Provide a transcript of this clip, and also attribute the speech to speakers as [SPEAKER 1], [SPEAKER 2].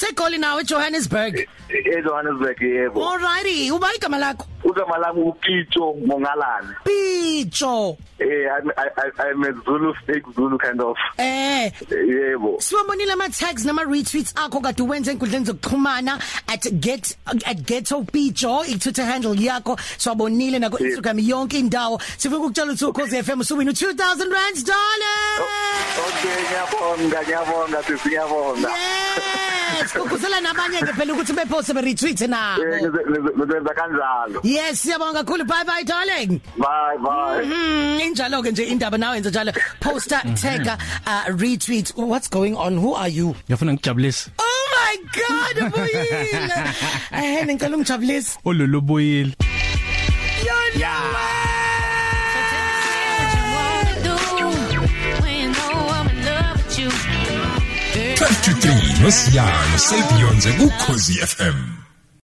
[SPEAKER 1] usekhona eJohannesburg
[SPEAKER 2] eJohannesburg yebo
[SPEAKER 1] alrighty ubani igama lakho
[SPEAKER 2] ugama lami upitso mongalane
[SPEAKER 1] Picho
[SPEAKER 2] eh I'm- I, I, i'm a zulu fake zulu kind of
[SPEAKER 1] eh
[SPEAKER 2] yebo
[SPEAKER 1] siwabonile ama tags nama retweets akho kade wenze enkundleni zokuxhumana at get at ghetto picho itwitter handle yakho siwabonile nako Instagram yonke indawo sifuna ukukutshela ukuthi ukhoze FM usuwina 2000 rand dollars
[SPEAKER 2] okay ngiyabonga ngiyabonga sisi ngiyabonga
[SPEAKER 1] yes ukukhuzela nabanye ke phela ukuthi bepost be retweet
[SPEAKER 2] Eh,
[SPEAKER 1] nabo
[SPEAKER 2] ngize- ngize- ngizenza kanjalo
[SPEAKER 1] yes siyabonga kakhulu bye bye darling
[SPEAKER 2] bye bye
[SPEAKER 1] Mm, injalo ke nje indaba nawe yenza njalo poster tag uh, retweet what's going on who are you
[SPEAKER 3] ngiyafuna ngijabulise
[SPEAKER 1] oh my god boyile eh ngicela ungijabulise
[SPEAKER 3] ololo boyile
[SPEAKER 1] yona
[SPEAKER 4] Touch to 3 nosiyana sebeyonze kukhosi FM